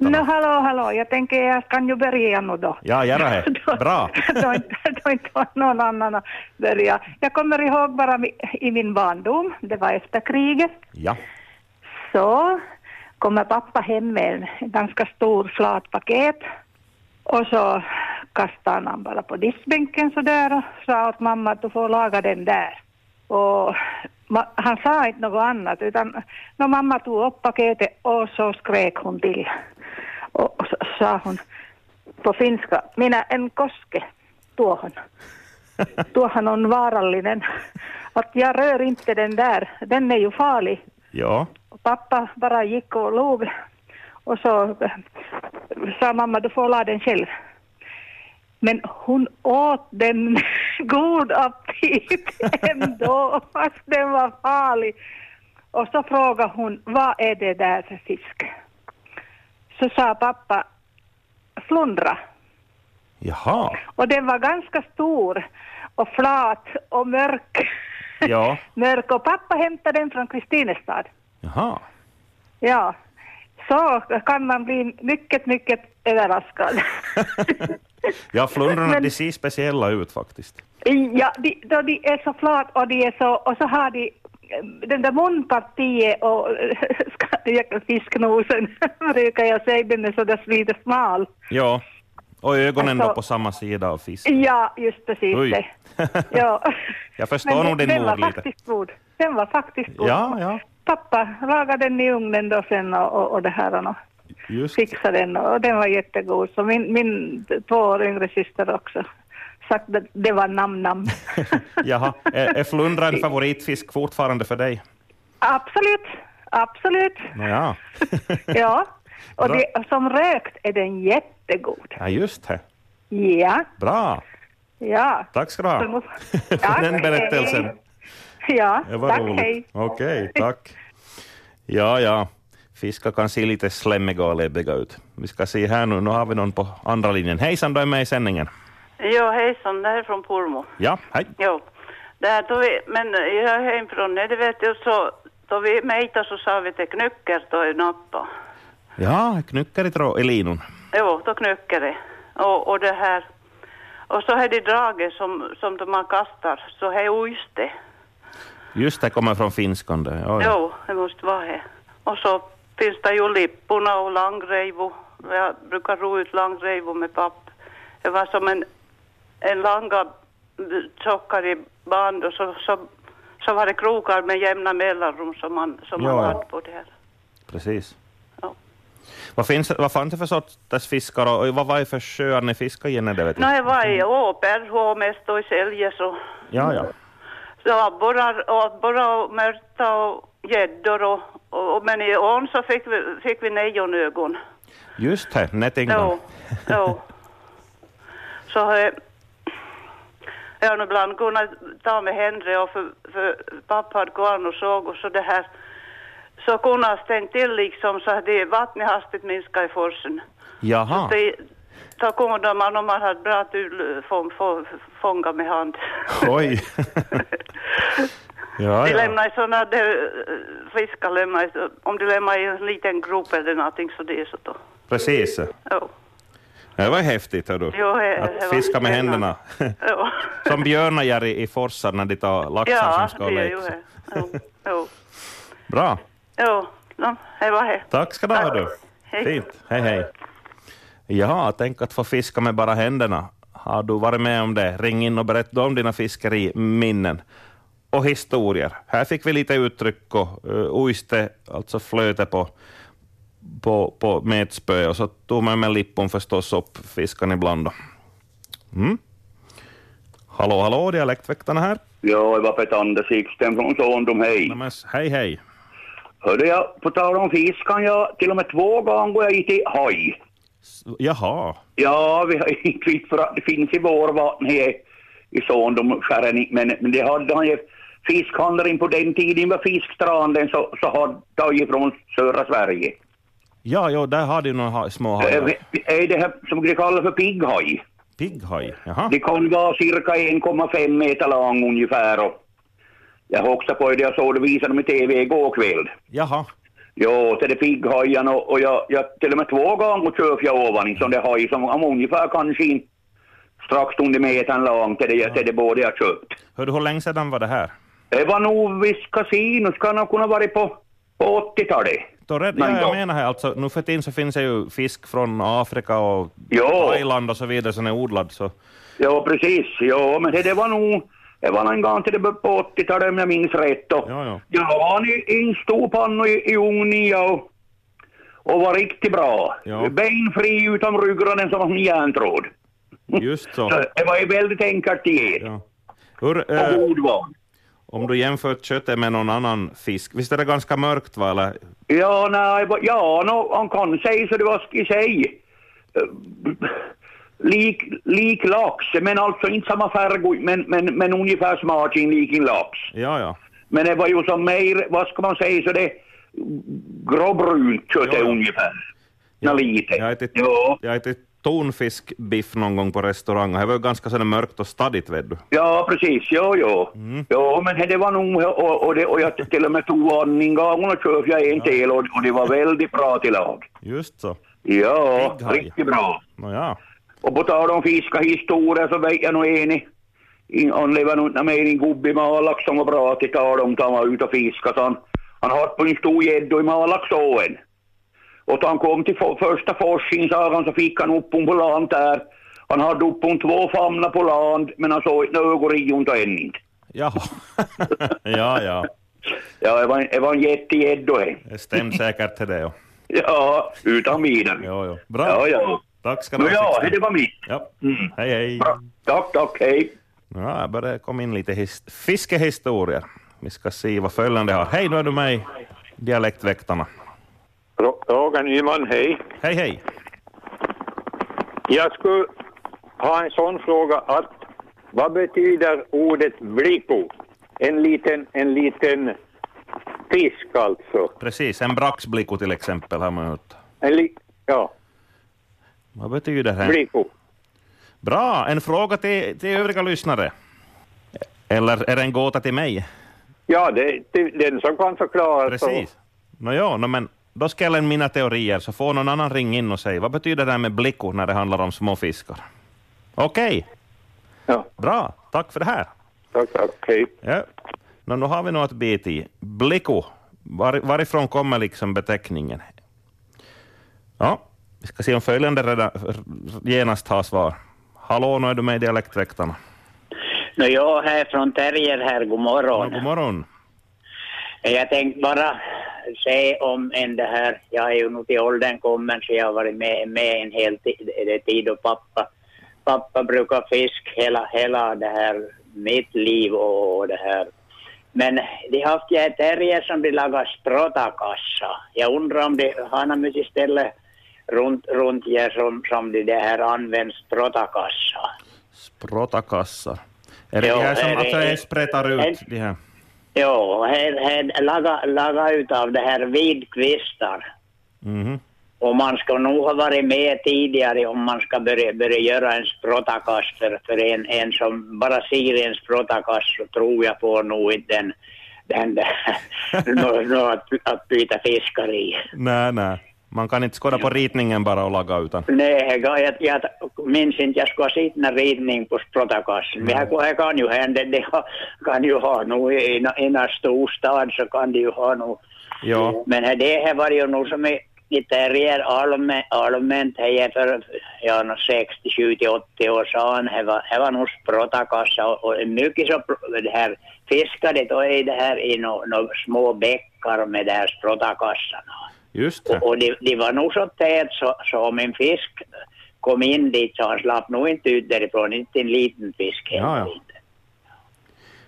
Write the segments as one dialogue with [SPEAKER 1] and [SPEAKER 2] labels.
[SPEAKER 1] Talo.
[SPEAKER 2] No hallå, hallå, jag tänker jag kan ju börja nu då.
[SPEAKER 1] Ja, gärna det.
[SPEAKER 2] Då-
[SPEAKER 1] Bra.
[SPEAKER 2] då inte- Då inte någon annan att börja. Jag kommer ihåg bara mi- i min barndom, det var efter kriget,
[SPEAKER 1] Ja.
[SPEAKER 2] så kommer pappa hem med en ganska stor flat paket och så kastade han den bara på diskbänken sådär och sa åt mamma att du får laga den där. Och ma- han sa inte något annat utan no, mamma tog upp paketet och så skrek hon till. Och, och så sa hon på finska, minä en koske tuohon. Tuohan on vaarallinen. Att jag rör inte den där, den är ju farlig.
[SPEAKER 1] Ja.
[SPEAKER 2] Och pappa bara gick och log och så eh, sa mamma du får la den själv. Men hon åt den god aptit ändå fast den var farlig. Och så frågade hon vad är det där för fisk? Så sa pappa flundra.
[SPEAKER 1] Jaha.
[SPEAKER 2] Och den var ganska stor och flat och mörk.
[SPEAKER 1] Ja.
[SPEAKER 2] mörk. Och pappa hämtade den från Kristinestad.
[SPEAKER 1] Jaha.
[SPEAKER 2] Ja, så kan man bli mycket, mycket överraskad.
[SPEAKER 1] Ja, flundrorna
[SPEAKER 2] Men-
[SPEAKER 1] de ser speciella ut faktiskt.
[SPEAKER 2] ja, de, då de är så flat och de är så, och så har de eh, den där munpartiet och ska- fisknosen brukar jag säga, den är så där lite smal.
[SPEAKER 1] Ja. Och ögonen då
[SPEAKER 2] Alltså-
[SPEAKER 1] på samma sida av fisken.
[SPEAKER 2] Ja, just precis
[SPEAKER 1] Oj.
[SPEAKER 2] det. Ja.
[SPEAKER 1] Jag förstår nog din
[SPEAKER 2] den
[SPEAKER 1] mor
[SPEAKER 2] var
[SPEAKER 1] lite.
[SPEAKER 2] faktiskt god. Den var faktiskt god.
[SPEAKER 1] Ja, ja.
[SPEAKER 2] Pappa lagade den i ugnen då sen och, och, och det här. Och,
[SPEAKER 1] Just.
[SPEAKER 2] fixa den och den var jättegod. Så min, min två år yngre syster också sagt att det var namn-namn.
[SPEAKER 1] Jaha. Är, är flundra en favoritfisk fortfarande för dig?
[SPEAKER 2] absolut, absolut.
[SPEAKER 1] Nåja.
[SPEAKER 2] Ja, och
[SPEAKER 1] Bra.
[SPEAKER 2] det, som rökt är den jättegod.
[SPEAKER 1] Ja, just det.
[SPEAKER 2] Ja,
[SPEAKER 1] Bra.
[SPEAKER 2] ja.
[SPEAKER 1] Tack ska du ha
[SPEAKER 2] Tack,
[SPEAKER 1] för den berättelsen.
[SPEAKER 2] hej. Ja,
[SPEAKER 1] Det var
[SPEAKER 2] tack,
[SPEAKER 1] roligt.
[SPEAKER 2] hej.
[SPEAKER 1] Okej, tack. Ja, ja. Fiskar kan se lite slemmiga och läbbiga ut. Vi ska se här nu, nu har vi någon på andra linjen. Hejsan, du är med i sändningen.
[SPEAKER 3] Ja, hejsan, det här är från Pormo.
[SPEAKER 1] Ja, hej.
[SPEAKER 3] Jo. Det här tog vi, men jag är hemifrån, det vet du, så då vi mejtade så sa vi till knycker då i nappa.
[SPEAKER 1] Ja, knycker i, trå- i linun.
[SPEAKER 3] Jo, då knycker det. Och, och det här, och så är det draget som, som de man kastar, så är uiste.
[SPEAKER 1] Just det, kommer från finskan det. Ja, ja.
[SPEAKER 3] Jo, det måste vara det. Och så finns det ju lipporna och langrejvo. Jag brukar ro ut langrejvo med papp. Det var som en, en langa b- tjockare i band och så, så, så var det krokar med jämna mellanrum som man, som
[SPEAKER 1] Ja,
[SPEAKER 3] man
[SPEAKER 1] ja.
[SPEAKER 3] hade på det här.
[SPEAKER 1] Precis.
[SPEAKER 3] Ja.
[SPEAKER 1] Vad, finns, vad fanns det för sorters fiskar och och vad var det för sjöar ni fiskade igen? Det vet du?
[SPEAKER 3] Nå, det var
[SPEAKER 1] Mm.
[SPEAKER 3] i Åperhå mest och i Säljes och
[SPEAKER 1] Ja, ja.
[SPEAKER 3] så abborrar abborrar och mörta och gäddor och, och, och men i ån så fick vi, fick vi nejonögon.
[SPEAKER 1] Just det,
[SPEAKER 3] Jo,
[SPEAKER 1] nättingan.
[SPEAKER 3] jo. Så har jag- jag har nog ibland kunnat ta med Henry och för, för pappa hade garn och såg och så det här. Så kunde han stängt till liksom så att det vattnet hastigt minskade i forsen.
[SPEAKER 1] Jaha.
[SPEAKER 3] Det, då kunde man om man hade bra tur få, få, fånga med hand.
[SPEAKER 1] Oj. ja,
[SPEAKER 3] De
[SPEAKER 1] ja.
[SPEAKER 3] lämnar sådana där eh, fiskar lämnar, i- om de lämnar i en liten grop eller någonting så det är så då.
[SPEAKER 1] Precis.
[SPEAKER 3] Jo,
[SPEAKER 1] Det var häftigt, hördu.
[SPEAKER 3] Jo, det- det
[SPEAKER 1] Att
[SPEAKER 3] var
[SPEAKER 1] fiska med händerna.
[SPEAKER 3] spännande. jo.
[SPEAKER 1] Som björnar gör i, i forsar när de tar laxar som
[SPEAKER 3] Ja,
[SPEAKER 1] ska
[SPEAKER 3] det är ju
[SPEAKER 1] leka.
[SPEAKER 3] det. Jo, jo.
[SPEAKER 1] Bra.
[SPEAKER 3] Jo, no, hej vad hej.
[SPEAKER 1] Tack ska du ha, du.
[SPEAKER 3] Hej.
[SPEAKER 1] Fint. Hej, hej. Ja, tänk att få fiska med bara händerna. Har du varit med om det? Ring in och berätta om dina fiskeriminnen och historier. Här fick vi lite uttryck och uh, uiste, alltså flöte på, på, på med ett spö och så tog man med lippon förstås upp fiskan ibland. Då. Mm. Hallå, hallå, dialektväktarna här.
[SPEAKER 4] Ja, det var Peter-Anders Sixten från Sondom, hej.
[SPEAKER 1] Nej, men s- Hej, hej.
[SPEAKER 4] Hörde jag, på tal om fiskan, jag till och med två gånger går jag hit till haj.
[SPEAKER 1] S- Jaha,
[SPEAKER 4] Ja, vi har inte vitt för att det finns i vår vatten här i Sondom, skären, men, men det hade han ju fiskhandlaren på den tiden med fiskstranden så, så hade han ju från södra Sverige.
[SPEAKER 1] ja, jo, där har du några ha- små
[SPEAKER 4] Eh,
[SPEAKER 1] hajar.
[SPEAKER 4] Är det här som de kallar för pigghaj?
[SPEAKER 1] Pigghaj, jaha.
[SPEAKER 4] Det kan vara cirka 1,5 meter lång ungefär och jag hoppade på det, jag såg det visade dem i TV igår kväll.
[SPEAKER 1] Jaha,
[SPEAKER 4] Jo, till det pigghajen och, och jag, jag till och med två gånger köpte jag ovan en sån där haj som om ungefär kanske en strax under metern lång till det, till det båda jag köpt.
[SPEAKER 1] Hör du, hur länge sedan var det här?
[SPEAKER 4] Det var nog vid kasino, ska nog kunna varit på, på 80-talet.
[SPEAKER 1] Då rädd, ja,
[SPEAKER 4] Men
[SPEAKER 1] jag
[SPEAKER 4] då-
[SPEAKER 1] menar här alltså, nu för tiden så finns det ju fisk från Afrika och
[SPEAKER 4] Ja.
[SPEAKER 1] Thailand och så vidare som är odlad. Så.
[SPEAKER 4] Ja, precis. Ja, men det, det var nog... Det var någon gång till det började på 80-talet om jag minns rätt. Och,
[SPEAKER 1] Ja, ja.
[SPEAKER 4] Jag har en, en stor panna i, i ugnen ja, och, och var riktigt bra.
[SPEAKER 1] Ja.
[SPEAKER 4] Benfri utom ryggraden som en järntråd.
[SPEAKER 1] Just så.
[SPEAKER 4] Så det var ju väldigt enkelt att ge.
[SPEAKER 1] Ja. Hur,
[SPEAKER 4] Och
[SPEAKER 1] eh,
[SPEAKER 4] god var
[SPEAKER 1] om du jämför köttet med någon annan fisk, visst är det ganska mörkt va? Eller?
[SPEAKER 4] Ja, nej, va- ja, no, han kan säga så det var i sig. eh, Lik, lik lax, men alltså inte samma färg, men, men, men ungefär smaken lik en lax.
[SPEAKER 1] Ja, ja.
[SPEAKER 4] Men det var ju som mer, vad ska man säga, så det gråbrunt kött
[SPEAKER 1] Ja, ja.
[SPEAKER 4] ungefär. Ja.
[SPEAKER 1] Ja,
[SPEAKER 4] Lite.
[SPEAKER 1] Jag har ätit,
[SPEAKER 4] Ja.
[SPEAKER 1] jag har ätit tonfiskbiff någon gång på restaurang och det var ju ganska sådär mörkt och stadigt vet du.
[SPEAKER 4] ja, precis. Ja, ja. Ja, men det var nog, och, och, det, och jag till och med tog andningen och köpte jag en till och, och det var väldigt bra till lag.
[SPEAKER 1] Just så.
[SPEAKER 4] Ja,
[SPEAKER 1] Pigghaj.
[SPEAKER 4] riktigt bra.
[SPEAKER 1] Nåja.
[SPEAKER 4] Och på tal om fiskahistoria så vet jag nog en i- i- han lever nog inte mer en gubbe i Malax som var bra till tal om att han var ute och fiskade. Så Han, han har på en stor gädda i Malaxåen. Och då han kom till fo- första forsen sa han så fick han upp hon på land där. Han hade upp hon två famnar på land men han såg inte ögon i hon än inte.
[SPEAKER 1] Jaha. ja, ja.
[SPEAKER 4] Ja, det var, en- det var en jättegädda det.
[SPEAKER 1] Det stämde säkert till det. Ja,
[SPEAKER 4] Ja, utan vidare.
[SPEAKER 1] ja. ja. Bra.
[SPEAKER 4] Ja, ja.
[SPEAKER 1] Tack ska du
[SPEAKER 4] Nå ja,
[SPEAKER 1] Sixten.
[SPEAKER 4] det var mitt.
[SPEAKER 1] Ja.
[SPEAKER 5] Mm.
[SPEAKER 1] Hej, hej.
[SPEAKER 4] Bra. Tack, tack, hej.
[SPEAKER 1] Ja, jag börjar komma in lite his- fiskehistorier. Vi ska se vad följande har. Hej, nu är du med i Dialektväktarna.
[SPEAKER 5] Ro- Roger Nyman, hej.
[SPEAKER 1] Hej, hej.
[SPEAKER 5] Jag skulle ha en sån fråga att vad betyder ordet blipo? En liten, en liten fisk alltså.
[SPEAKER 1] Precis, en braxbliko till exempel har man hört.
[SPEAKER 5] En li- ja,
[SPEAKER 1] Vad betyder det?
[SPEAKER 5] blipo.
[SPEAKER 1] Bra, en fråga till, till övriga lyssnare. Eller är det en gåta till mig?
[SPEAKER 5] Ja, det, det den som kan förklara.
[SPEAKER 1] Precis. Nåja, nå, men då ska jag lämna mina teorier, så får någon annan ringa in och säga vad betyder det här med bliko när det handlar om småfiskar? Okej,
[SPEAKER 5] Så, ja,
[SPEAKER 1] bra. Tack för det här.
[SPEAKER 5] tack, tack, hej.
[SPEAKER 1] Ja. Nå, nu har vi nog ett bit i. Bliko, var, varifrån kommer liksom beteckningen? Ja, vi ska se om följande redan, genast har svar. Hallå, nu är du med i Dialektväktarna.
[SPEAKER 6] Nå, jag här från Terrier här, god
[SPEAKER 1] Nå,
[SPEAKER 6] morgon.
[SPEAKER 1] God morgon.
[SPEAKER 6] Jag tänkte bara se om en det här, jag är ju nog till åldern kommen så jag har varit med, med en hel tid, det tid och pappa, pappa brukar fisk hela, hela det här mitt liv och, och det här. Men de har haft jag terrier som de lagar sprottakassa. Jag undrar om de har något mycket ställe runt, runt här som, som de det här använder sprottakassa.
[SPEAKER 1] Sprotakassar. Är det
[SPEAKER 6] Jo,
[SPEAKER 1] de här som
[SPEAKER 6] är det-
[SPEAKER 1] alltså, är sprättar ut?
[SPEAKER 6] är-
[SPEAKER 1] De här?
[SPEAKER 6] Jo, här, här laga, laga utav det här vidkvistar.
[SPEAKER 1] Mhm.
[SPEAKER 6] Och man ska nog ha varit med tidigare om man ska börja, börja göra en sprottakass. För, för en, en som bara ser en sprottakass så tror jag på nog inte den, den där, nå- nå att, att byta fiskar i.
[SPEAKER 1] Nej, nej. Man kan inte skåda på ritningen bara och laga utan.
[SPEAKER 6] Nej, jag, jag, jag minns inte, jag ska ha sett en ridning på Sprottakassen. Det, här, det kan ju hända, det har- kan ju ha nog i en- i en storstad så kan det ju ha nog.
[SPEAKER 1] Ja.
[SPEAKER 6] Men här, det här var ju nog som i, i terrier allmän, allmänt, här är för ja, nå 60, 70, 80 år sedan, här var, här var nog Sprottakassa och, och mycket så pr- det här fiskade då i det här i några no, små bäckar med det här Sprottakassarna.
[SPEAKER 1] Just det.
[SPEAKER 6] Och, och det, det var nog så tät så, så om en fisk kom in dit så han slapp nog inte ut därifrån, inte en liten fisk
[SPEAKER 1] Ja, ja.
[SPEAKER 6] inte.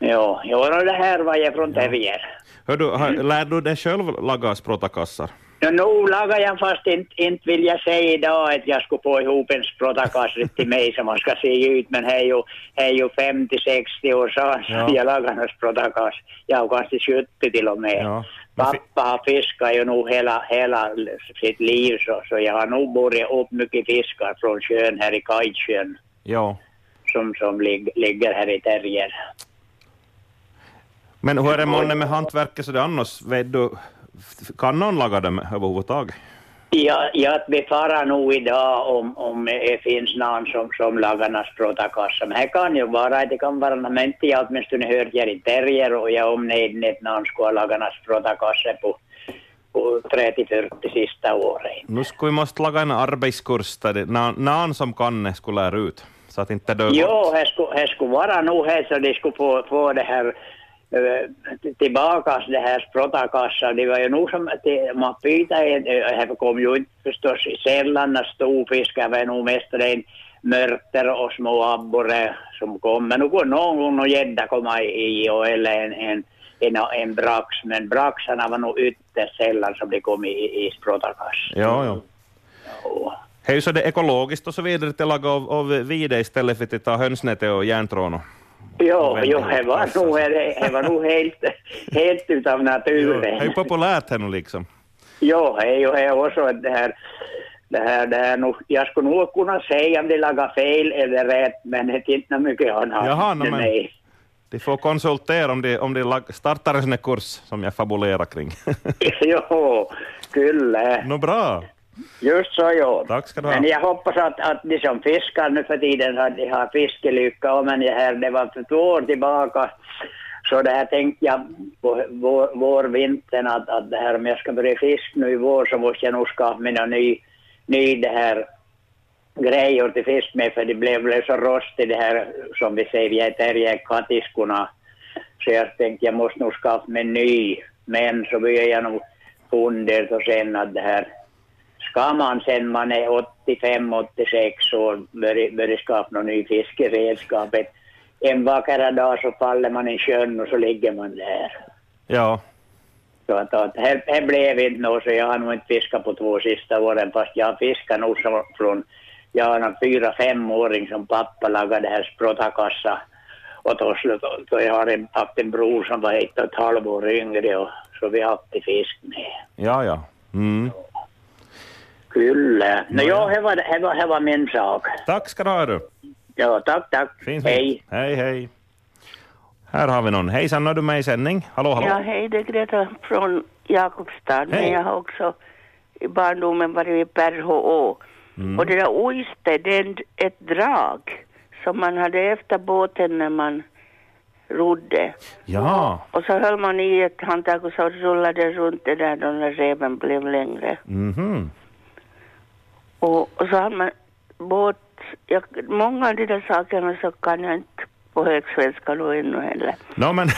[SPEAKER 6] Ja, ja, och det här var jag från Terrier.
[SPEAKER 1] Hör du, har,
[SPEAKER 6] Mm.
[SPEAKER 1] lär du dig själv laga sprottakassar?
[SPEAKER 6] Ja, nu lagar jag fast inte, inte vill jag säga idag att jag skulle få ihop en sprottakasse till mig som man ska se ut, men här är ju, här är ju 50-60 år sedan
[SPEAKER 1] Ja.
[SPEAKER 6] jag lagade en sprottakasse. Jag har kanske 70 till och med.
[SPEAKER 1] Ja. Men fi-
[SPEAKER 6] Pappa har fiskat ju nog hela, hela sitt liv så, så jag har nog burit upp mycket fiskar från sjön här i Kajsjön
[SPEAKER 1] Ja.
[SPEAKER 6] som, som lig, ligger här i Terrier.
[SPEAKER 1] Men hur är det månne med hantverket så det annars? Vet du, Kan någon laga dem överhuvudtaget?
[SPEAKER 6] Ja, jag befarar nog idag om, om det finns någon som, som lagar nattstråtakassa. Men det kan ju vara, det kan vara, men inte jag åtminstone hörde jag i terrier och jag omnejden att någon skulle ha lagat nattstråtakassa på, på 30-40 sista året.
[SPEAKER 1] Nu skulle vi måste laga en arbetskurs där det, någon, någon som kan det skulle lära ut, så att inte dö
[SPEAKER 6] Jo, det skulle, det skulle vara nog här så de skulle få, få det här eh, tillbaka det här sprottakassan. Det var ju nog som att det- man pytade, en- eh, här kom ju inte förstås sällan när storfiskar, var nog mest ren mörter och små abborre som kom. Men nu går någon gång någon gädda komma i, i och eller en, en, en, en brax, men braxarna var nog ytterst sällan som de kom i, i sprottakassan.
[SPEAKER 1] Ja, ja. Det är ju så det är ekologiskt och så vidare att laga av, av vide istället för att ta hönsnätet och järntrån. och-
[SPEAKER 6] Jo,
[SPEAKER 1] Väldigt
[SPEAKER 6] jo, det var nog, det, det var nog helt, helt utav
[SPEAKER 1] Det
[SPEAKER 6] naturen.
[SPEAKER 1] är ju populärt här nu liksom.
[SPEAKER 6] Joo, ei ole också det här, det här, det här nu, jag skulle nog kunna säga om de lagar fel eller rätt, men det är inte mycket annat.
[SPEAKER 1] Jaha, no men-
[SPEAKER 6] Nej.
[SPEAKER 1] De får konsultera om de, om de lag- startar en sån här kurs som jag fabulerar kring.
[SPEAKER 6] jo, kyllä.
[SPEAKER 1] Nå bra,
[SPEAKER 6] Just så, jo.
[SPEAKER 1] tack ska du ha.
[SPEAKER 6] Men jag hoppas att, att de som fiskar nu för tiden har, de har fiskelycka. Och men det, här, det var för två år tillbaka. Så det här tänkte jag på vår, vår vintern att, att det här, om jag ska börja fiska nu i vår så måste jag nog skaffa mig någon ny, ny det här grejer till fisk med för det blev, blev så rostigt det här som vi säger, jag tärjer katiskorna. Så jag tänkte jag måste nog skaffa mig en ny. Men så började jag nog fundera och sen att det här ska man sen man är 85-86 år börja, börja skaffa någon ny fiskeredskap. Ett- En vacker dag så faller man i sjön och så ligger man där.
[SPEAKER 1] Ja,
[SPEAKER 6] Så att, att här, här blev inte något så jag har nog inte fiskat på två sista åren fast jag har fiskat nog så, från jag har en fyra femåring som pappa lagade det här sprottakassa och då, då- då jag har en, haft en bror som var ett och ett halvår yngre och så vi har haft i fisk med.
[SPEAKER 1] ja, ja. Mm.
[SPEAKER 6] Kyllä. No, joo, he var, he var, he var min sak.
[SPEAKER 1] Tack ska du ha du.
[SPEAKER 6] Joo, tack, tack.
[SPEAKER 1] Fint,
[SPEAKER 6] Hej.
[SPEAKER 1] fint. Hej, hej. Här har vi någon. Hejsan, nu är du med i sändning. Hallå, hallå.
[SPEAKER 7] Ja, hej, det är Greta från Jakobstad.
[SPEAKER 1] Hej.
[SPEAKER 7] Men jag har också i barndomen varit vid Perhå.
[SPEAKER 1] Mm.
[SPEAKER 7] Och det där oyster, det är en- ett drag som man hade efter båten när man rodde.
[SPEAKER 1] Ja.
[SPEAKER 7] Och så höll man i ett handtag och så rullade det runt det där då när reven blev längre.
[SPEAKER 1] Mhm.
[SPEAKER 7] Och, och så hade man båt. Jag, många av de där sakerna så kan jag inte på högsvenska då ännu heller.
[SPEAKER 1] Nå men,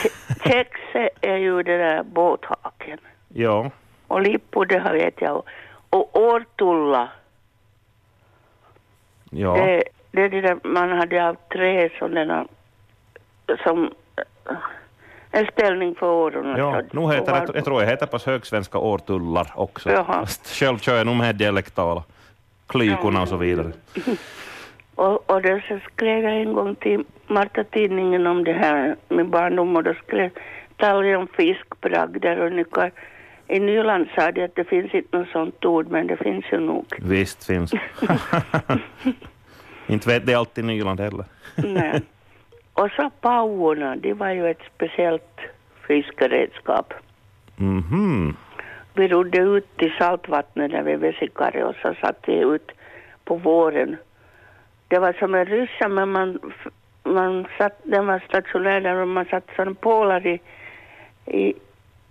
[SPEAKER 7] Kexe är ju det där båthaken.
[SPEAKER 1] ja.
[SPEAKER 7] Och Lippo, det har vet jag. Och- Och Årtulla,
[SPEAKER 1] Ja.
[SPEAKER 7] det, det är det där man hade av trä sådana som eh, en ställning för åren.
[SPEAKER 1] Ja, nu heter det, jag tror jag heter på högsvenska årtullar också.
[SPEAKER 7] Jaha.
[SPEAKER 1] Fast Själv kör jag nog med dialektala, klykorna och så vidare.
[SPEAKER 7] Och, och det så skrev jag en gång till Marta-tidningen om det här med barndom och då skrev talade om fiskbragder och nyckar. I Nyland sa de att det finns inte något sånt ord men det finns ju nog.
[SPEAKER 1] Visst finns. Inte vet det alltid Nyland heller.
[SPEAKER 7] Nej. Och så pauorna, det var ju ett speciellt fiskeredskap.
[SPEAKER 1] Mhm.
[SPEAKER 7] Vi rodde ut till saltvattnet där vid Vesikari och så satt vi ut på våren. Det var som en ryssa men man, f- man satt, den var stationär där och man satt som pålar i, i,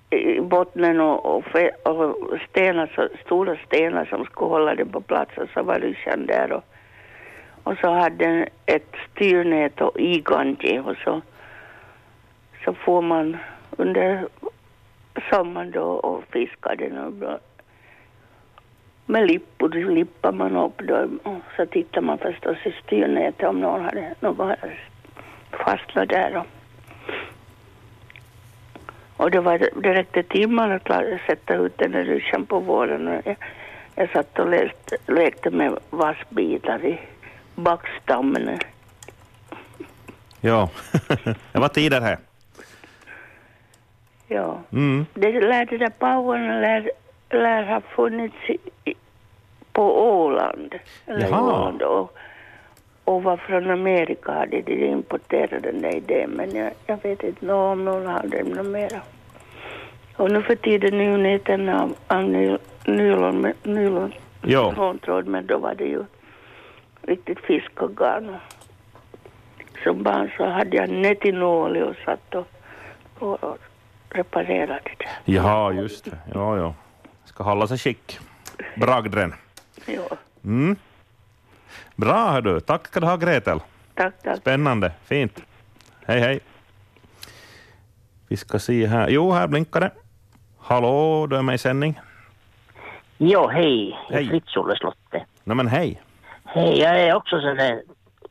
[SPEAKER 3] eh,
[SPEAKER 7] i bottnen och, och, fe, och stenar, så, stora stenar som skulle hålla den på plats och så var ryssan där och, och så hade den ett styrnät och igandi och så, så får man under sommaren då och fiskade den och då med lippor då lippar man upp då och så tittar man förstås i styrnätet om någon hade någon hade fastnat där och, och det var det räckte timmar att la- sätta ut den där ryssjan på våren och jag, jag satt och läste, lekte med vassbitar i backstammen
[SPEAKER 1] Ja. det var tider här.
[SPEAKER 7] ja
[SPEAKER 1] Mm.
[SPEAKER 7] Det lär, det där pauvan lär, lär ha funnits i, i- på Åland. Eller i
[SPEAKER 1] Jaha.
[SPEAKER 7] Åland och, och var från Amerika hade de importerat den där idén. Men jag, jag vet inte nå om någon hade den mera. Och nu för tiden är ju näten av, av ny- nylon, med- nylon,
[SPEAKER 1] Jo.
[SPEAKER 7] nylontråd, men då var det ju riktigt fisk och garn. Och Som barn så hade jag nät i nål och satt och, och, och reparerade det.
[SPEAKER 1] Jaha, just det. Ja, ja. Ska hålla sig skick. Bragdren.
[SPEAKER 7] Ja,
[SPEAKER 1] Mm. Bra, hör du. Tack ska du ha, Gretel.
[SPEAKER 7] tack, tack.
[SPEAKER 1] Spännande, fint. Hej, hej. Vi ska se här. Jo, här blinkar det. Hallå, du är med i sändning.
[SPEAKER 8] Jo, hej.
[SPEAKER 1] Hej.
[SPEAKER 8] hej. Fritz-Olle Slotte.
[SPEAKER 1] Nej, men hej.
[SPEAKER 8] Hej, jag är också sån där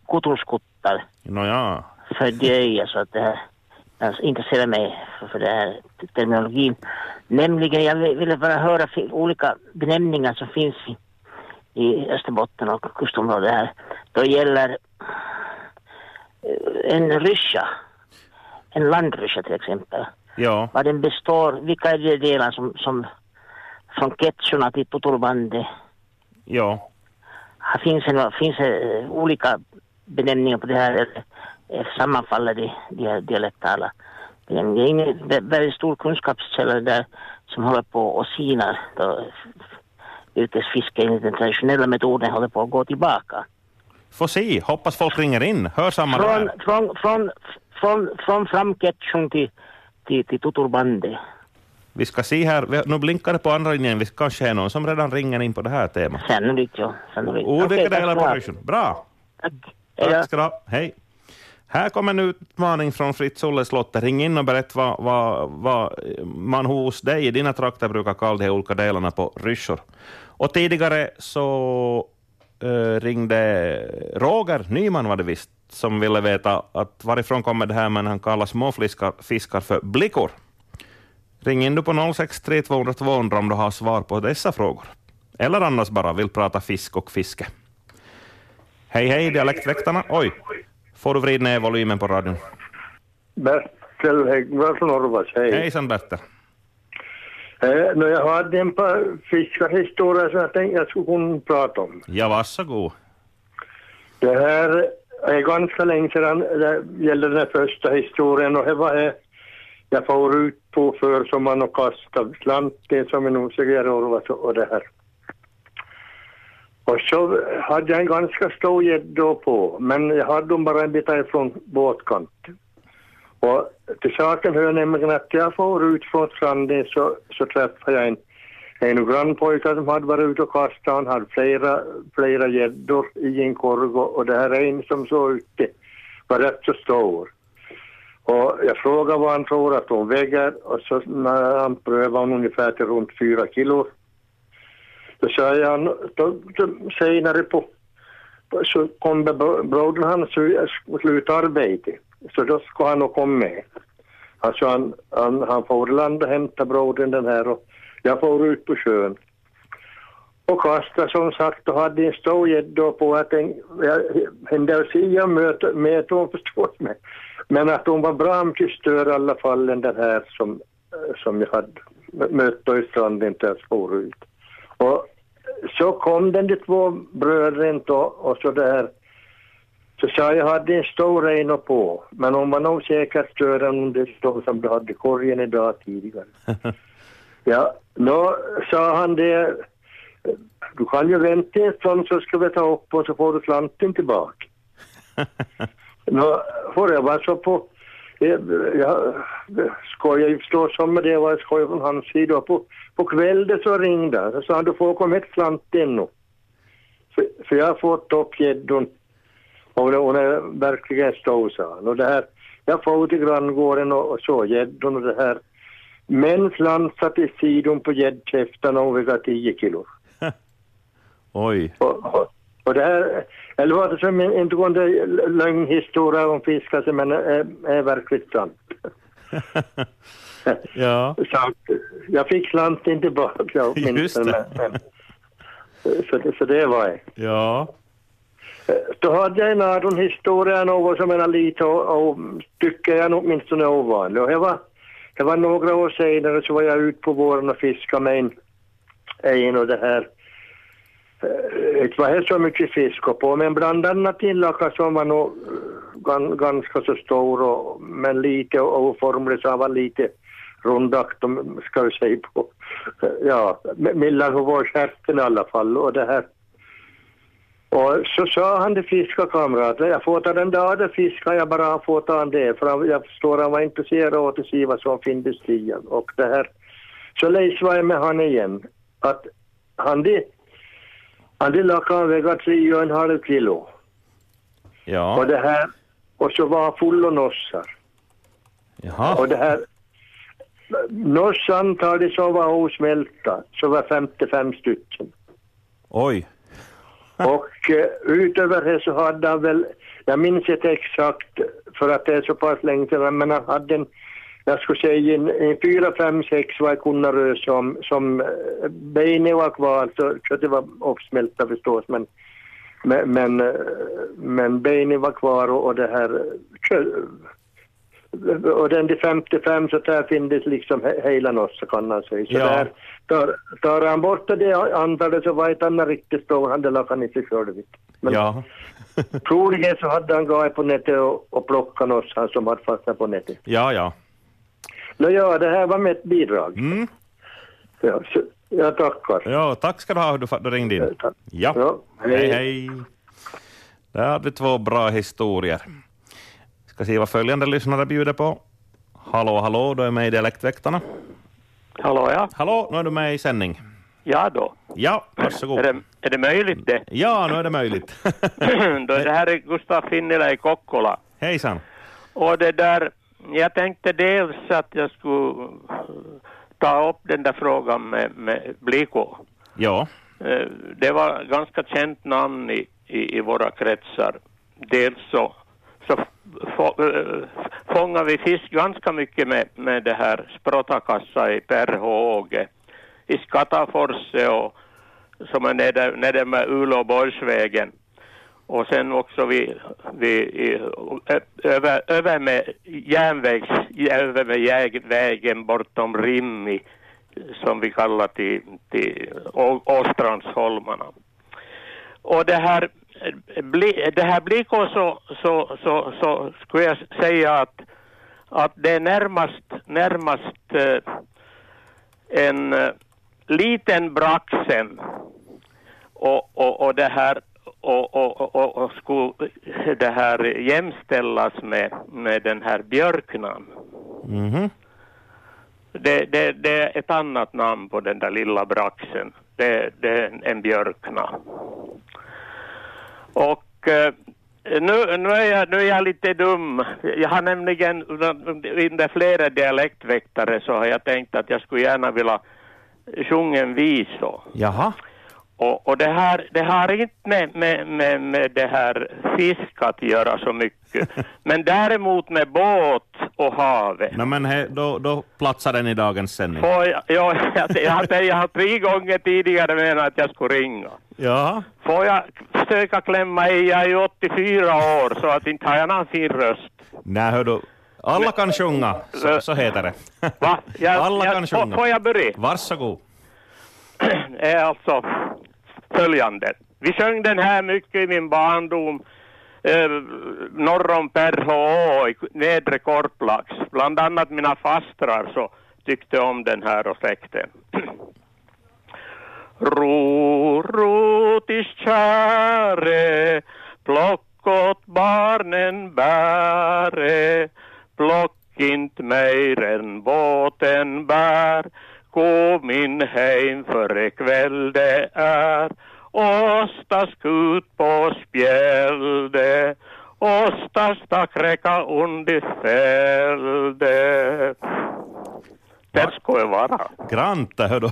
[SPEAKER 8] kutuskuttad
[SPEAKER 1] Nåja,
[SPEAKER 8] fördröja så att det här alltså, intresserar mig för, för den här terminologin. Nämligen, jag vi- ville bara höra fi- olika benämningar som finns i, i Österbotten och kustområdet här. Då gäller eh, en ryscha, en landryscha till exempel.
[SPEAKER 1] ja,
[SPEAKER 8] Vad den består, vilka är de delar som, som från ketsorna till tutulbandet
[SPEAKER 1] ja.
[SPEAKER 8] Här finns, en, finns eh, olika benämningar på det här, eller, eh, sammanfaller de, de här dialektala benämningarna. Det är en vä- väldigt stor kunskapskälla det där som håller på och sinar då yrkesfiske enligt den traditionella metoden håller på att gå tillbaka.
[SPEAKER 1] Få se, hoppas folk ringer in. Hör samma
[SPEAKER 8] Från,
[SPEAKER 1] där.
[SPEAKER 8] från, från, från, från framketchung till, till, till tuturbande.
[SPEAKER 1] Vi ska se här. Vi- Nu blinkar det på andra linjen. Vi kanske är någon som redan ringer in på det här temat.
[SPEAKER 8] Sannolikt ja, sannolikt.
[SPEAKER 1] Olika
[SPEAKER 8] Okej, tack
[SPEAKER 1] delar
[SPEAKER 8] ska du
[SPEAKER 1] på
[SPEAKER 8] ha.
[SPEAKER 1] ryschen. Bra.
[SPEAKER 8] Tack. Hej då.
[SPEAKER 1] Tack ska du ha. Hej. Här kommer en utmaning från Fritz-Olle Slotte. Ring in och berätta vad, vad, vad man hos dig i dina trakter brukar kalla de här olika delarna på ryssor. Och tidigare så eh, ringde Roger Nyman var det visst, som ville veta att varifrån kommer det här men han kallar småfiskar fiskar för blickor. Ring in du på 063 200 200 om du har svar på dessa frågor. Eller annars bara vill prata fisk och fiske. Hej hej, dialektväktarna. Oj, får du vrida ner volymen på radion.
[SPEAKER 9] Bertil Häggberg från Orvas, hej.
[SPEAKER 1] Hejsan Bertil.
[SPEAKER 9] Eh, nu, jag hade en par fiskarhistorier som jag tänkte jag skulle kunna prata om.
[SPEAKER 1] Ja, varsågod.
[SPEAKER 9] Det här är ganska länge sedan det gällde den här första historien och det var det jag får ut på försommaren och kastade slant, det som en osäker Orvas och det här. Och så hade jag en ganska stor gädda på, men jag hade dem bara en bit ifrån båtkanten. Och till saken hör nämligen att jag får ut från stranden så, så träffade jag en, en grannpojke som hade varit ute och kastat. Han hade flera, flera gäddor i en korg och, och det här är en som såg ute var rätt så stor. Och jag frågade vad han tror att hon väger och så när han prövade hon ungefär till runt fyra kilo. Då säger han, då, då, senare på, på- så kom bro- brodern hans och slutade arbeta. Så då ska han nog komma med. Alltså han, han, han får land och hämta brodern den här och jag får ut på sjön. Och kasta som sagt och hade en stor gädda på. Jag tänkte, jag hände att se jag möter med hon förstås mig. Men att hon var bra mycket större i alla fall än den här som, som jag hade mött då i stranden där förut. Och så kom den de två bröderna då och så där. Så sa jag hade en stor reino på, men hon var nog säkert större än de stora som du hade i korgen idag tidigare. ja, då sa han det. Du kan ju vänta en stund så ska vi ta upp och så får du slanten tillbaka. Nå, får jag vara så på... eh, Jag skojar ju förstås om det, var skoj från hans sida. Och På, på kvällen så ringde han. Så sa han, du får komma hit slant ännu. För, för jag har fått upp gäddan. Och det- hon är verkligen stor, sa han. Och det här, jag for till granngården och, och så gäddan och det här. Män slansade till sidan på gäddkäftarna och vägde 10 kilo.
[SPEAKER 1] Oj.
[SPEAKER 9] Och, och, och det här, eller var det som en en gående lögnhistoria om fiskar som men är, är verkligt sant.
[SPEAKER 1] Ja,
[SPEAKER 9] Så att jag fick slanten tillbaka jag åtminstone.
[SPEAKER 1] det.
[SPEAKER 9] Men, men, så, det- så det var det.
[SPEAKER 1] ja.
[SPEAKER 9] Då hade jag en annan historia, något som är lite och, och tycker jag nog åtminstone är ovanlig. Och jag var, det var några år senare så var jag ute på våren och fiskade med en, en och det här. Eh, Det var helt så mycket fisk och på, men bland annat en lacka som var nog eh, gan, ganska så stor och, men lite oformlig så han var lite rundakt, de ska vi säga på, Eh, ja, me- mellan Helsingborgshärten i alla fall och det här. Och så sa han till fiskarkamraterna, jag får ta den där andra fiskan, jag bara får ta den där, för han- jag förstår han var intresserad av att se vad som finns i och det här. Så lejsvade jag med han igen, att han det, han det lakan väger tre och en halv kilo.
[SPEAKER 1] Ja,
[SPEAKER 9] Och det här, och så var han full och nossar.
[SPEAKER 1] jaha.
[SPEAKER 9] Och det här, noss antalet som var osmälta, så var 55 stycken.
[SPEAKER 1] Oj.
[SPEAKER 9] Och eh, utöver det så hade han väl, jag minns inte exakt för att det är så pass länge sedan, men han hade en, jag skulle säga en, en fyra, fem, sex vad jag kunde röra som, som eh, benen var kvar, så, så det var uppsmälta förstås, men men, men, eh, men benen var kvar och, och det här eh, och den till 55 så där finns liksom he- hela noss kan man säga. Så
[SPEAKER 1] Ja.
[SPEAKER 9] där tar, tar han bort det antalet så vet han inte riktigt då han det han inte själv. Men
[SPEAKER 1] Ja.
[SPEAKER 9] troligen så hade han gått på nätet och, och plockat oss han som hade fastnat på nätet.
[SPEAKER 1] Ja, ja.
[SPEAKER 9] Nå ja, det här var mitt bidrag.
[SPEAKER 1] Mm.
[SPEAKER 9] Ja, så, jag tackar.
[SPEAKER 1] Ja, tack ska du ha du, fa- du ringde in.
[SPEAKER 9] Tack.
[SPEAKER 1] Ja,
[SPEAKER 9] Ja, hej.
[SPEAKER 1] hej hej. Där hade vi två bra historier. Ska se vad följande lyssnare bjuder på. Hallå, hallå, du är med i Dialektväktarna.
[SPEAKER 10] Hallå ja.
[SPEAKER 1] Hallå, nu är du med i sändning.
[SPEAKER 10] Ja då.
[SPEAKER 1] Ja, varsågod.
[SPEAKER 10] Är det, är det möjligt det?
[SPEAKER 1] Ja, nu är det möjligt.
[SPEAKER 10] då det här är Gustaf Finnila i Kokkola.
[SPEAKER 1] Hejsan.
[SPEAKER 10] Och det där, jag tänkte dels att jag skulle ta upp den där frågan med, med Bliko.
[SPEAKER 1] Ja,
[SPEAKER 10] Eh, Det var ganska känt namn i, i, i våra kretsar. Dels så, så få, eh, fångar vi fisk ganska mycket med, med det här språtakassa i Perhåge, i Skataforse och som är nere, nere med Uleåborgsvägen. Och sen också vi, vi i, ö- över, över med järnvägs, över med järnvägen bortom Rimmi som vi kallar till, till Å- Åstrandsholmarna. Och det här, eh, bli, det här Bliko så, så, så, så skulle jag säga att, att det är närmast, närmast eh, en eh, liten braxen och, och, och det här och, och, och- och, och skulle det här jämställas med, med den här björknan.
[SPEAKER 1] mhm.
[SPEAKER 10] Det, det, det är ett annat namn på den där lilla braxen. Det, det är en, en björkna. Och eh, nu, nu, är jag, nu är jag lite dum. Jag har nämligen under flera dialektväktare så har jag tänkt att jag skulle gärna vilja sjunga en visa.
[SPEAKER 1] jaha.
[SPEAKER 10] Och, och det, här, det har inte med, med, med, med det här fisk att göra så mycket. Men däremot med båt och havet.
[SPEAKER 1] Nå, men he, då, då platsar den i dagens sändning.
[SPEAKER 10] Får jag, jag, jag, jag, jag har tre gånger tidigare menat att jag skulle ringa.
[SPEAKER 1] Ja,
[SPEAKER 10] Får jag försöka klämma i, jag är ju 84 år så att inte har jag någon fin röst.
[SPEAKER 1] nej hördu. Alla kan sjunga, så, så heter det.
[SPEAKER 10] Va? Jag,
[SPEAKER 1] Alla
[SPEAKER 10] jag,
[SPEAKER 1] kan
[SPEAKER 10] får- Får
[SPEAKER 1] sjunga.
[SPEAKER 10] jag börja?
[SPEAKER 1] Varsågod.
[SPEAKER 10] är alltså följande. Vi sjöng den här mycket i min barndom. Eh, norr om Perhå i nedre Korplax. Bland annat mina fastrar så tyckte om den här och släkten. ro, ro till käre, plock åt barnen bäre, plock int mejren båten bär, kom in heim före kväll det är, åstas skut på spjälde, åstas ta kräka undi fällde. Där ska jag vara.
[SPEAKER 1] Grant det hördu.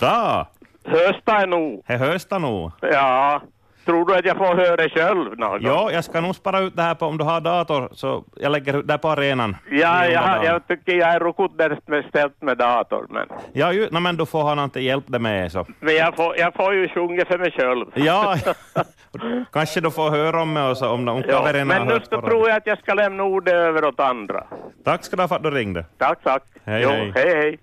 [SPEAKER 1] Bra.
[SPEAKER 10] Hösta är nog.
[SPEAKER 1] He hörs det nog.
[SPEAKER 10] Ja, tror du att jag får höra själv någon gång?
[SPEAKER 1] Ja, jag ska nog spara ut det här på, om du har dator, så jag lägger ut det här på arenan.
[SPEAKER 10] Ja,
[SPEAKER 1] I
[SPEAKER 10] jag,
[SPEAKER 1] Ådalen.
[SPEAKER 10] jag tycker jag är rokotnäst med ställt med dator, men,
[SPEAKER 1] Ja, ju, no, men du får han inte hjälp dig med så.
[SPEAKER 10] men jag, får, jag får ju sjunga för mig själv.
[SPEAKER 1] Ja, kanske du får höra om mig och så, om, om
[SPEAKER 10] Ja,
[SPEAKER 1] kaverierna
[SPEAKER 10] men
[SPEAKER 1] har
[SPEAKER 10] nu
[SPEAKER 1] hört
[SPEAKER 10] så
[SPEAKER 1] på
[SPEAKER 10] tror
[SPEAKER 1] radio.
[SPEAKER 10] jag att jag ska lämna ordet över åt andra.
[SPEAKER 1] Tack ska du ha för att du ringde.
[SPEAKER 10] Tack, tack.
[SPEAKER 1] Hej,
[SPEAKER 10] jo,
[SPEAKER 1] hej.
[SPEAKER 10] hej, hej.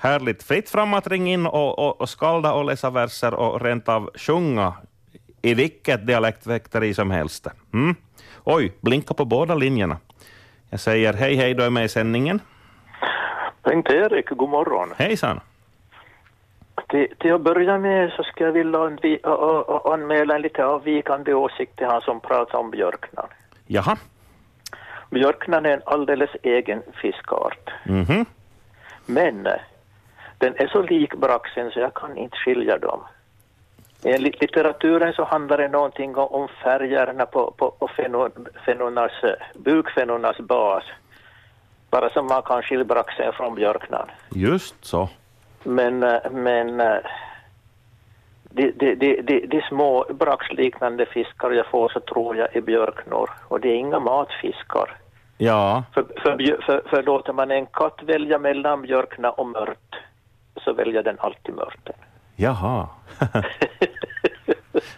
[SPEAKER 1] Härligt. Fritt fram att ringa in och, och, och skalda och läsa verser och rent av sjunga i vilket dialektväkteri som helst. Mm. Oj, blinka på båda linjerna. Jag säger hej, hej, du är med i sändningen.
[SPEAKER 11] Bengt-Erik, god morgon.
[SPEAKER 1] Hejsan!
[SPEAKER 11] Till, till att börja med så skulle jag vilja anvi- a- a- a- anmäla en lite avvikande åsikt till han som pratar om björknan.
[SPEAKER 1] Jaha.
[SPEAKER 11] Björknan är en alldeles egen fiskart,
[SPEAKER 1] Mhm.
[SPEAKER 11] men eh, den är så lik braxen så jag kan inte skilja dem. Enligt litteraturen så handlar det någonting om, om färgerna på, på, på fenon, fenornas, eh, bukfenornas bas, bara som man kan skilja braxen från björknan.
[SPEAKER 1] Just så.
[SPEAKER 11] Men, eh, men eh, de, de, de, de, de små braxliknande fiskar jag får så tror jag är björknor och det är inga matfiskar.
[SPEAKER 1] Ja,
[SPEAKER 11] För, för, bjö- för, för låter man en katt välja mellan björkna och mört så väljer den alltid mörten.
[SPEAKER 1] jaha.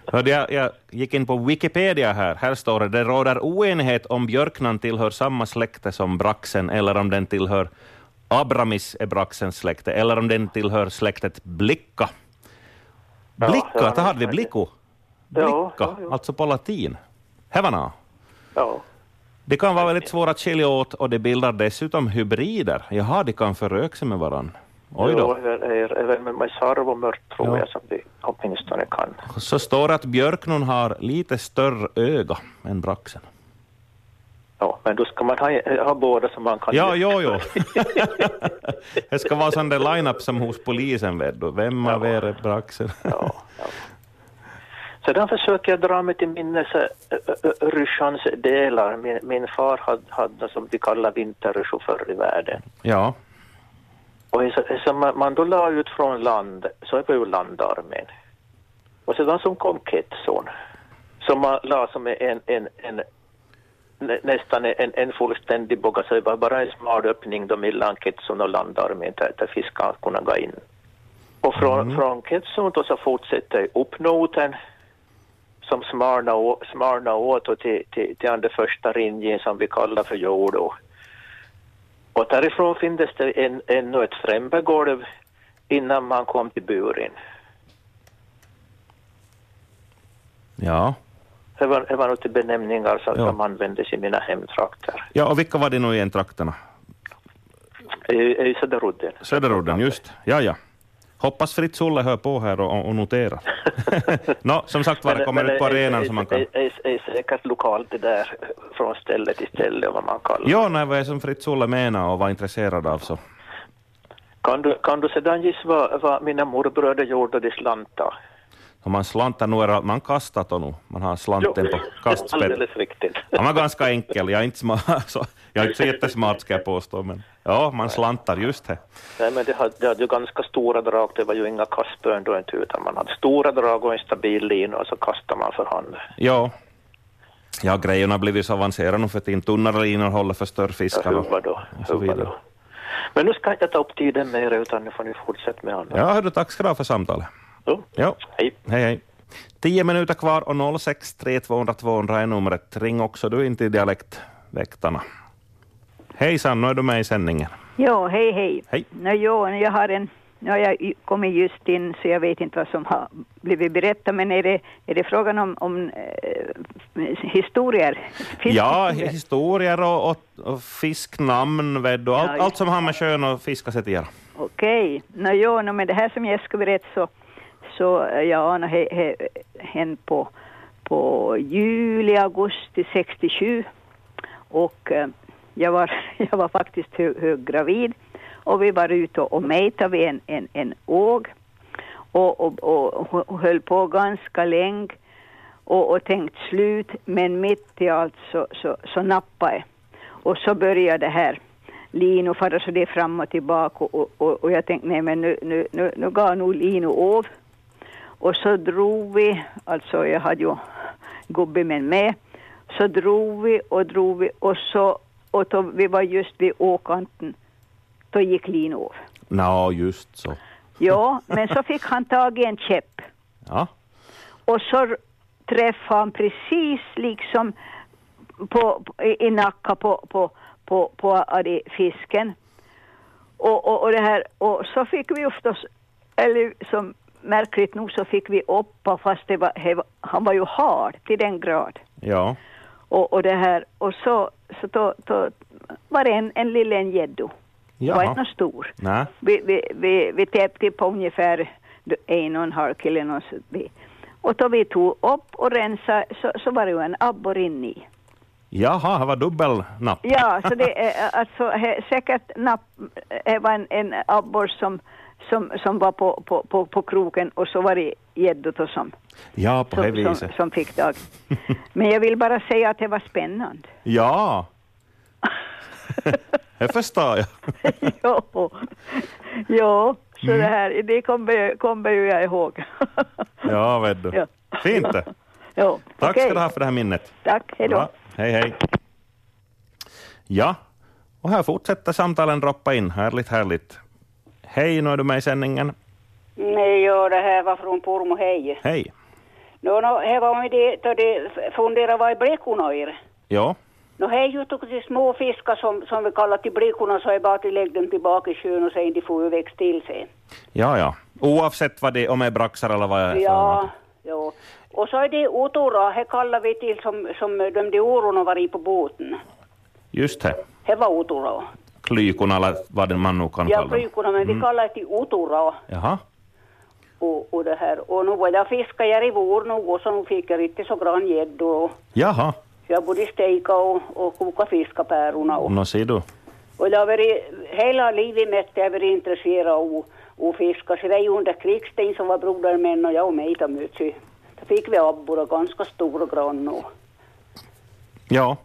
[SPEAKER 1] Hörde jag, jag gick in på Wikipedia här. Här står det det råder oenighet om björknan tillhör samma släkte som braxen eller om den tillhör Abramis är braxens släkte eller om den tillhör släktet blicka.
[SPEAKER 11] ja,
[SPEAKER 1] Blicka, det hade vi
[SPEAKER 11] ja.
[SPEAKER 1] blicko.
[SPEAKER 11] Ja,
[SPEAKER 1] Blicka, alltså på latin. Hävana.
[SPEAKER 11] Ja.
[SPEAKER 1] Det kan vara väldigt svårt att skilja åt och det bildar dessutom hybrider. Jaha, de kan föröka sig med varandra. Oj då.
[SPEAKER 11] Jo, är, är, är, väl med sarv och mört tror jag som vi åtminstone kan.
[SPEAKER 1] Så står det att björknon har lite större öga än braxen.
[SPEAKER 11] Ja, men då ska man ha, ha båda som man kan.
[SPEAKER 1] Ja, jo, jo. det ska vara sån där line-up som hos polisen, vet du. Vem av er är braxen?
[SPEAKER 11] Sedan försöker jag dra mig till minnes eh, eh, eh, ryssjans delar. Min, min far hade, hade som vi kallar vinterryssjor förr i världen.
[SPEAKER 1] ja,
[SPEAKER 11] Och så, så man, man då la ut från land, så var ju landarmén. Och sedan som kom Ketson, som man la som en, en, en nä- nästan en, en fullständig båge, så det var bara en smal öppning då mellan Ketson och landarmén där, där fiskarna kunde gå in. Och från, från Ketson då så fortsätter uppnoten som smalna, å- smalna åt och till, till, till den första ringen som vi kallar för jordo. Och därifrån finns det en, ännu ett främre golv innan man kom till buren.
[SPEAKER 1] ja.
[SPEAKER 11] Det var, det var något till benämningar som,
[SPEAKER 1] Ja.
[SPEAKER 11] som användes i mina hemtrakter.
[SPEAKER 1] Ja, och vilka var det nu igen, trakterna?
[SPEAKER 11] I, i Söderudden.
[SPEAKER 1] Söderudden, just. Ja, ja. Hoppas Fritz Olle hör på här och, och noterar. Nå, som sagt var, det kommer ut på
[SPEAKER 11] är-
[SPEAKER 1] arenan
[SPEAKER 11] är-
[SPEAKER 1] som man kan...
[SPEAKER 11] är- är- är säkert lokalt det där, från ställe till ställe vad man kallar
[SPEAKER 1] Ja, nej, vad är som Fritz Olle menar och var intresserad av så.
[SPEAKER 11] kan du, kan du sedan gissa vad, vad mina morbröder gjorde då de slantade?
[SPEAKER 1] Om man slantar nu, är allt- man kastar då nu. Man har slanten på kastspel.
[SPEAKER 11] Alldeles riktigt.
[SPEAKER 1] Han var ganska enkel. Jag är inte, sma- så, jag är inte så jättesmart ska jag påstå, men ja, man slantar, just det.
[SPEAKER 11] Nej, men det hade, det hade ju ganska stora drag, det var ju inga kastbön då inte, utan man hade stora drag och en stabil lina och så kastade man för hand.
[SPEAKER 1] Ja. Ja, grejerna har blivit så avancerade nu för tiden. Tunnare linor håller för större fiskar och,
[SPEAKER 11] Hubba då,
[SPEAKER 1] och så vidare.
[SPEAKER 11] Men nu ska jag inte ta upp tiden mer utan nu får ni fortsätta med annat.
[SPEAKER 1] Ja, hördu, tack ska du ha för samtalet.
[SPEAKER 11] Jo.
[SPEAKER 1] Ja.
[SPEAKER 11] Hej.
[SPEAKER 1] Hej, hej. Tio minuter kvar och 06 200 200 är numret. Ring också du in till Dialektväktarna. Hejsan, nu är du med i sändningen.
[SPEAKER 12] Jo, hej hej.
[SPEAKER 1] Hej.
[SPEAKER 12] Nå, jo, jag har en, nu har jag y- kommit just in så jag vet inte vad som har blivit berättat men är det, är det frågan om, om eh, historier?
[SPEAKER 1] Ja, hi- historier och, och, och fisknamn, vet du.
[SPEAKER 12] Ja,
[SPEAKER 1] Allt,
[SPEAKER 12] ja.
[SPEAKER 1] allt som har med sjön och fiska att göra.
[SPEAKER 12] Okej, nå jo, nå, men det här som jag ska berätta så, så eh, ja, nå, he, he, hen på, på juli, augusti 67 och eh, jag, var, jag var faktiskt hö- höggravid och vi var ute och, och mejtade vid en, en, en åg och, och, och, och höll på ganska länge och, och tänkt slut men mitt i allt så, så, så nappade jag och så började det här Lino fara så det fram och tillbaka och, och- och, och jag tänkte nej men nu, nu, nu, nu går nog Lino av. Och så drog vi, alltså jag hade ju gubben med, så drog vi och drog vi och så, och då vi var just vid åkanten, då gick Lino av.
[SPEAKER 1] Nå, just så.
[SPEAKER 12] Ja, men så fick han tag i en käpp
[SPEAKER 1] Ja.
[SPEAKER 12] och så r- träffade han precis liksom på, på, i i nacka på, på, på, på av det fisken. Och, och, och, det här, och så fick vi oftast, eller som märkligt nog så fick vi uppa fast det var, he, var- han var ju hard till den grad.
[SPEAKER 1] Ja.
[SPEAKER 12] Och, och det här, och så, så då, då var det en, en liten gäddo Ja. Var inte någon stor.
[SPEAKER 1] Nej.
[SPEAKER 12] Vi, vi, vi, vi täppte på ungefär en och en halv kilo. någon så vi- Och då vi tog upp och rensade så, så var det ju en abborre inne i.
[SPEAKER 1] Jaha, det var dubbelnapp.
[SPEAKER 12] Ja, så det är eh, alltså he, säkert napp, det var en, en abborre som, som, som var på, på, på, på kroken och så var det gäddor då som,
[SPEAKER 1] Ja, på det
[SPEAKER 12] som, som,
[SPEAKER 1] viset.
[SPEAKER 12] som fick tag. Men jag vill bara säga att det var spännande.
[SPEAKER 1] Ja. det förstår jag.
[SPEAKER 12] jo, jo så
[SPEAKER 1] Mm.
[SPEAKER 12] det här, det kommer jag- kommer ju jag ihåg.
[SPEAKER 1] Ja, vet du.
[SPEAKER 12] Ja.
[SPEAKER 1] Fint det.
[SPEAKER 12] Jo,
[SPEAKER 1] Tack
[SPEAKER 12] okej.
[SPEAKER 1] ska du ha för det här minnet.
[SPEAKER 12] Tack, hej då.
[SPEAKER 1] Bra. Hej, hej. Ja, och här fortsätter samtalen droppa in. Härligt, härligt. Hej, nu är du med i sändningen.
[SPEAKER 13] Nej, ja, det här var från Pormo, hej.
[SPEAKER 1] Hej.
[SPEAKER 13] Nå, no, här var med det, då de funderade vad är blekorna är.
[SPEAKER 1] Ja,
[SPEAKER 13] Nå, här är ju tog de små fiskar som, som vi kallar till blekorna så är bara att de lägger dem tillbaka i sjön och sen de får ju växt till sen.
[SPEAKER 1] ja, ja. Oavsett vad det är, om det är braxar eller vad det Äh, är. för något.
[SPEAKER 13] Ja, ja. Och så är det otora, här kallar vi till som, som de de ororna var i på båten.
[SPEAKER 1] Just det.
[SPEAKER 13] Här var otora.
[SPEAKER 1] Klykon eller vad det man nu kan
[SPEAKER 13] Ja,
[SPEAKER 1] kalla dem.
[SPEAKER 13] blykorna, men vi
[SPEAKER 1] Mm.
[SPEAKER 13] kallar det till otora.
[SPEAKER 1] Jaha.
[SPEAKER 13] Och, och det här. Och nu var jag fiskade jag i vår nog och så nu fick jag inte så grann gäddor. och
[SPEAKER 1] Jaha,
[SPEAKER 13] Jag både steka och, och koka fiskapäroner. Och,
[SPEAKER 1] nå ser du.
[SPEAKER 13] och jag har varit, hela livet mitt har jag varit intresserad av att fiska. Så det är ju under krigstiden som var brodermän och jag och mig där möts. ju. Då fick vi abborre, ganska stora grann. Och,
[SPEAKER 1] Ja,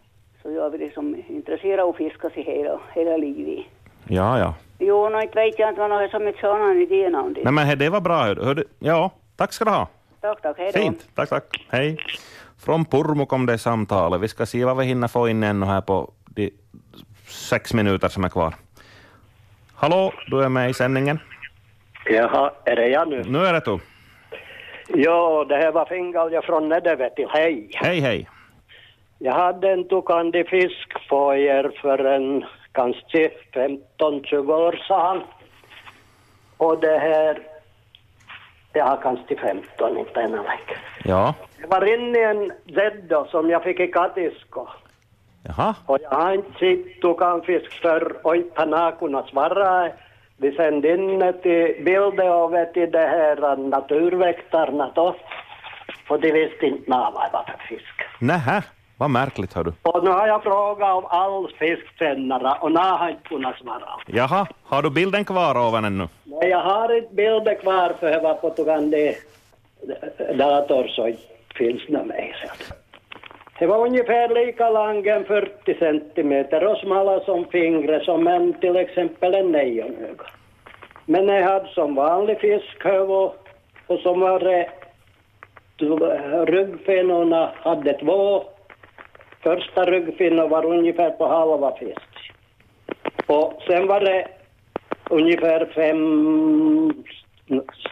[SPEAKER 13] så jag har varit som intresserad av att fiska sig hela, hela livet.
[SPEAKER 1] ja, ja.
[SPEAKER 13] Jo, nå inte vet jag inte vad något som inte sa någon idé om det.
[SPEAKER 1] Nej, men he- det var bra. hör du. Hör du. Ja, tack ska du ha.
[SPEAKER 13] Tack, tack, hej då.
[SPEAKER 1] Fint, tack, tack. Hej. Från Purmo kom det samtalet. Vi ska se vad vi hinner få in ännu här på de sex minuter som är kvar. Hallå, du är med i sändningen.
[SPEAKER 14] Jaha, är det jag nu?
[SPEAKER 1] Nu är det du.
[SPEAKER 14] Ja, det här var Fingalja från Nedervetti. Hej!
[SPEAKER 1] Hej, hej.
[SPEAKER 14] Jag hade en tokande fisk på er för en kanske 15-20 år sedan. Och det här, ja kanske 15, inte ännu längre.
[SPEAKER 1] Ja,
[SPEAKER 14] Det var inne i en gädda som jag fick i Katisko.
[SPEAKER 1] jaha.
[SPEAKER 14] Och jag har inte sett tokanfisk förr och inte har någon kunnat svara. Vi sände in ett i bilder och vet i det här naturväktarna då. Och de visste inte nå vad det var för fisk.
[SPEAKER 1] Nähä, vad märkligt hör du.
[SPEAKER 14] Och nu har jag frågat om all fisksändare och nu har jag inte kunnat svara.
[SPEAKER 1] Jaha, har du bilden kvar ovan ännu?
[SPEAKER 14] Nej, jag har inte bilder kvar för det var på tokande dator så inte finns det mer. Det var ungefär lika lång, en 40 centimeter och smal som fingret som en till exempel en nejonöga. Men jag hade som vanlig fiskhöv och, och som var det du- ryggfinorna hade två. Första ryggfinnan var ungefär på halva fisk. Och sen var det ungefär fem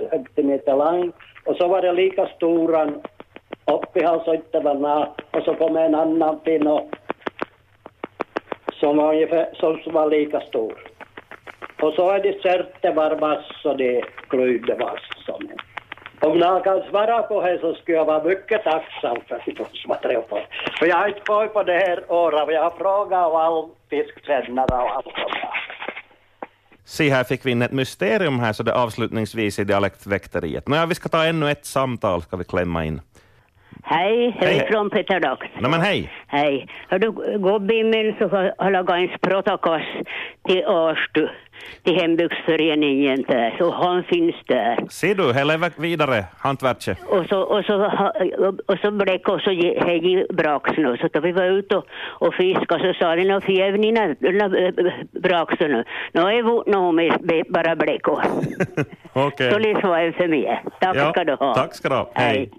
[SPEAKER 14] centimeter lång och så var det lika stora upp i halsöjtterna och så kom en annan pinne som var ungefär som var lika stor. Och så är det särte var vass och det glöjde vass. som en. Om någon kan svara på det så skulle jag vara mycket tacksam för att få svara på det. För jag har inte koll på det här året och jag har frågat om all fisksändare och allt sånt där.
[SPEAKER 1] Se, här fick vi in ett mysterium här, så det avslutningsvis i dialektväkteriet. Nåja, vi ska ta ännu ett samtal, ska vi klämma in.
[SPEAKER 15] Hej,
[SPEAKER 1] Hej,
[SPEAKER 15] hej
[SPEAKER 1] hej.
[SPEAKER 15] från Peter Dax.
[SPEAKER 1] Nå men hej.
[SPEAKER 15] Hej. Har du gubbe i min så har har lagat en sprotokoss till Årstu, till hembygdsföreningen där, så han finns där.
[SPEAKER 1] Ser du, här lever vidare, hantverket.
[SPEAKER 15] Och så, och så, ha- och så blek och så ge- hej i brax nu. Så då vi var ute och, och fiskade så sa de, nå fjäv ni na- na- äh, braxen nu. Nå är vi nog med- med bara blek och.
[SPEAKER 1] Okej.
[SPEAKER 15] Så det var jag för mig. Tack
[SPEAKER 1] Ja,
[SPEAKER 15] ska du ha.
[SPEAKER 1] Tack ska du ha. Hej.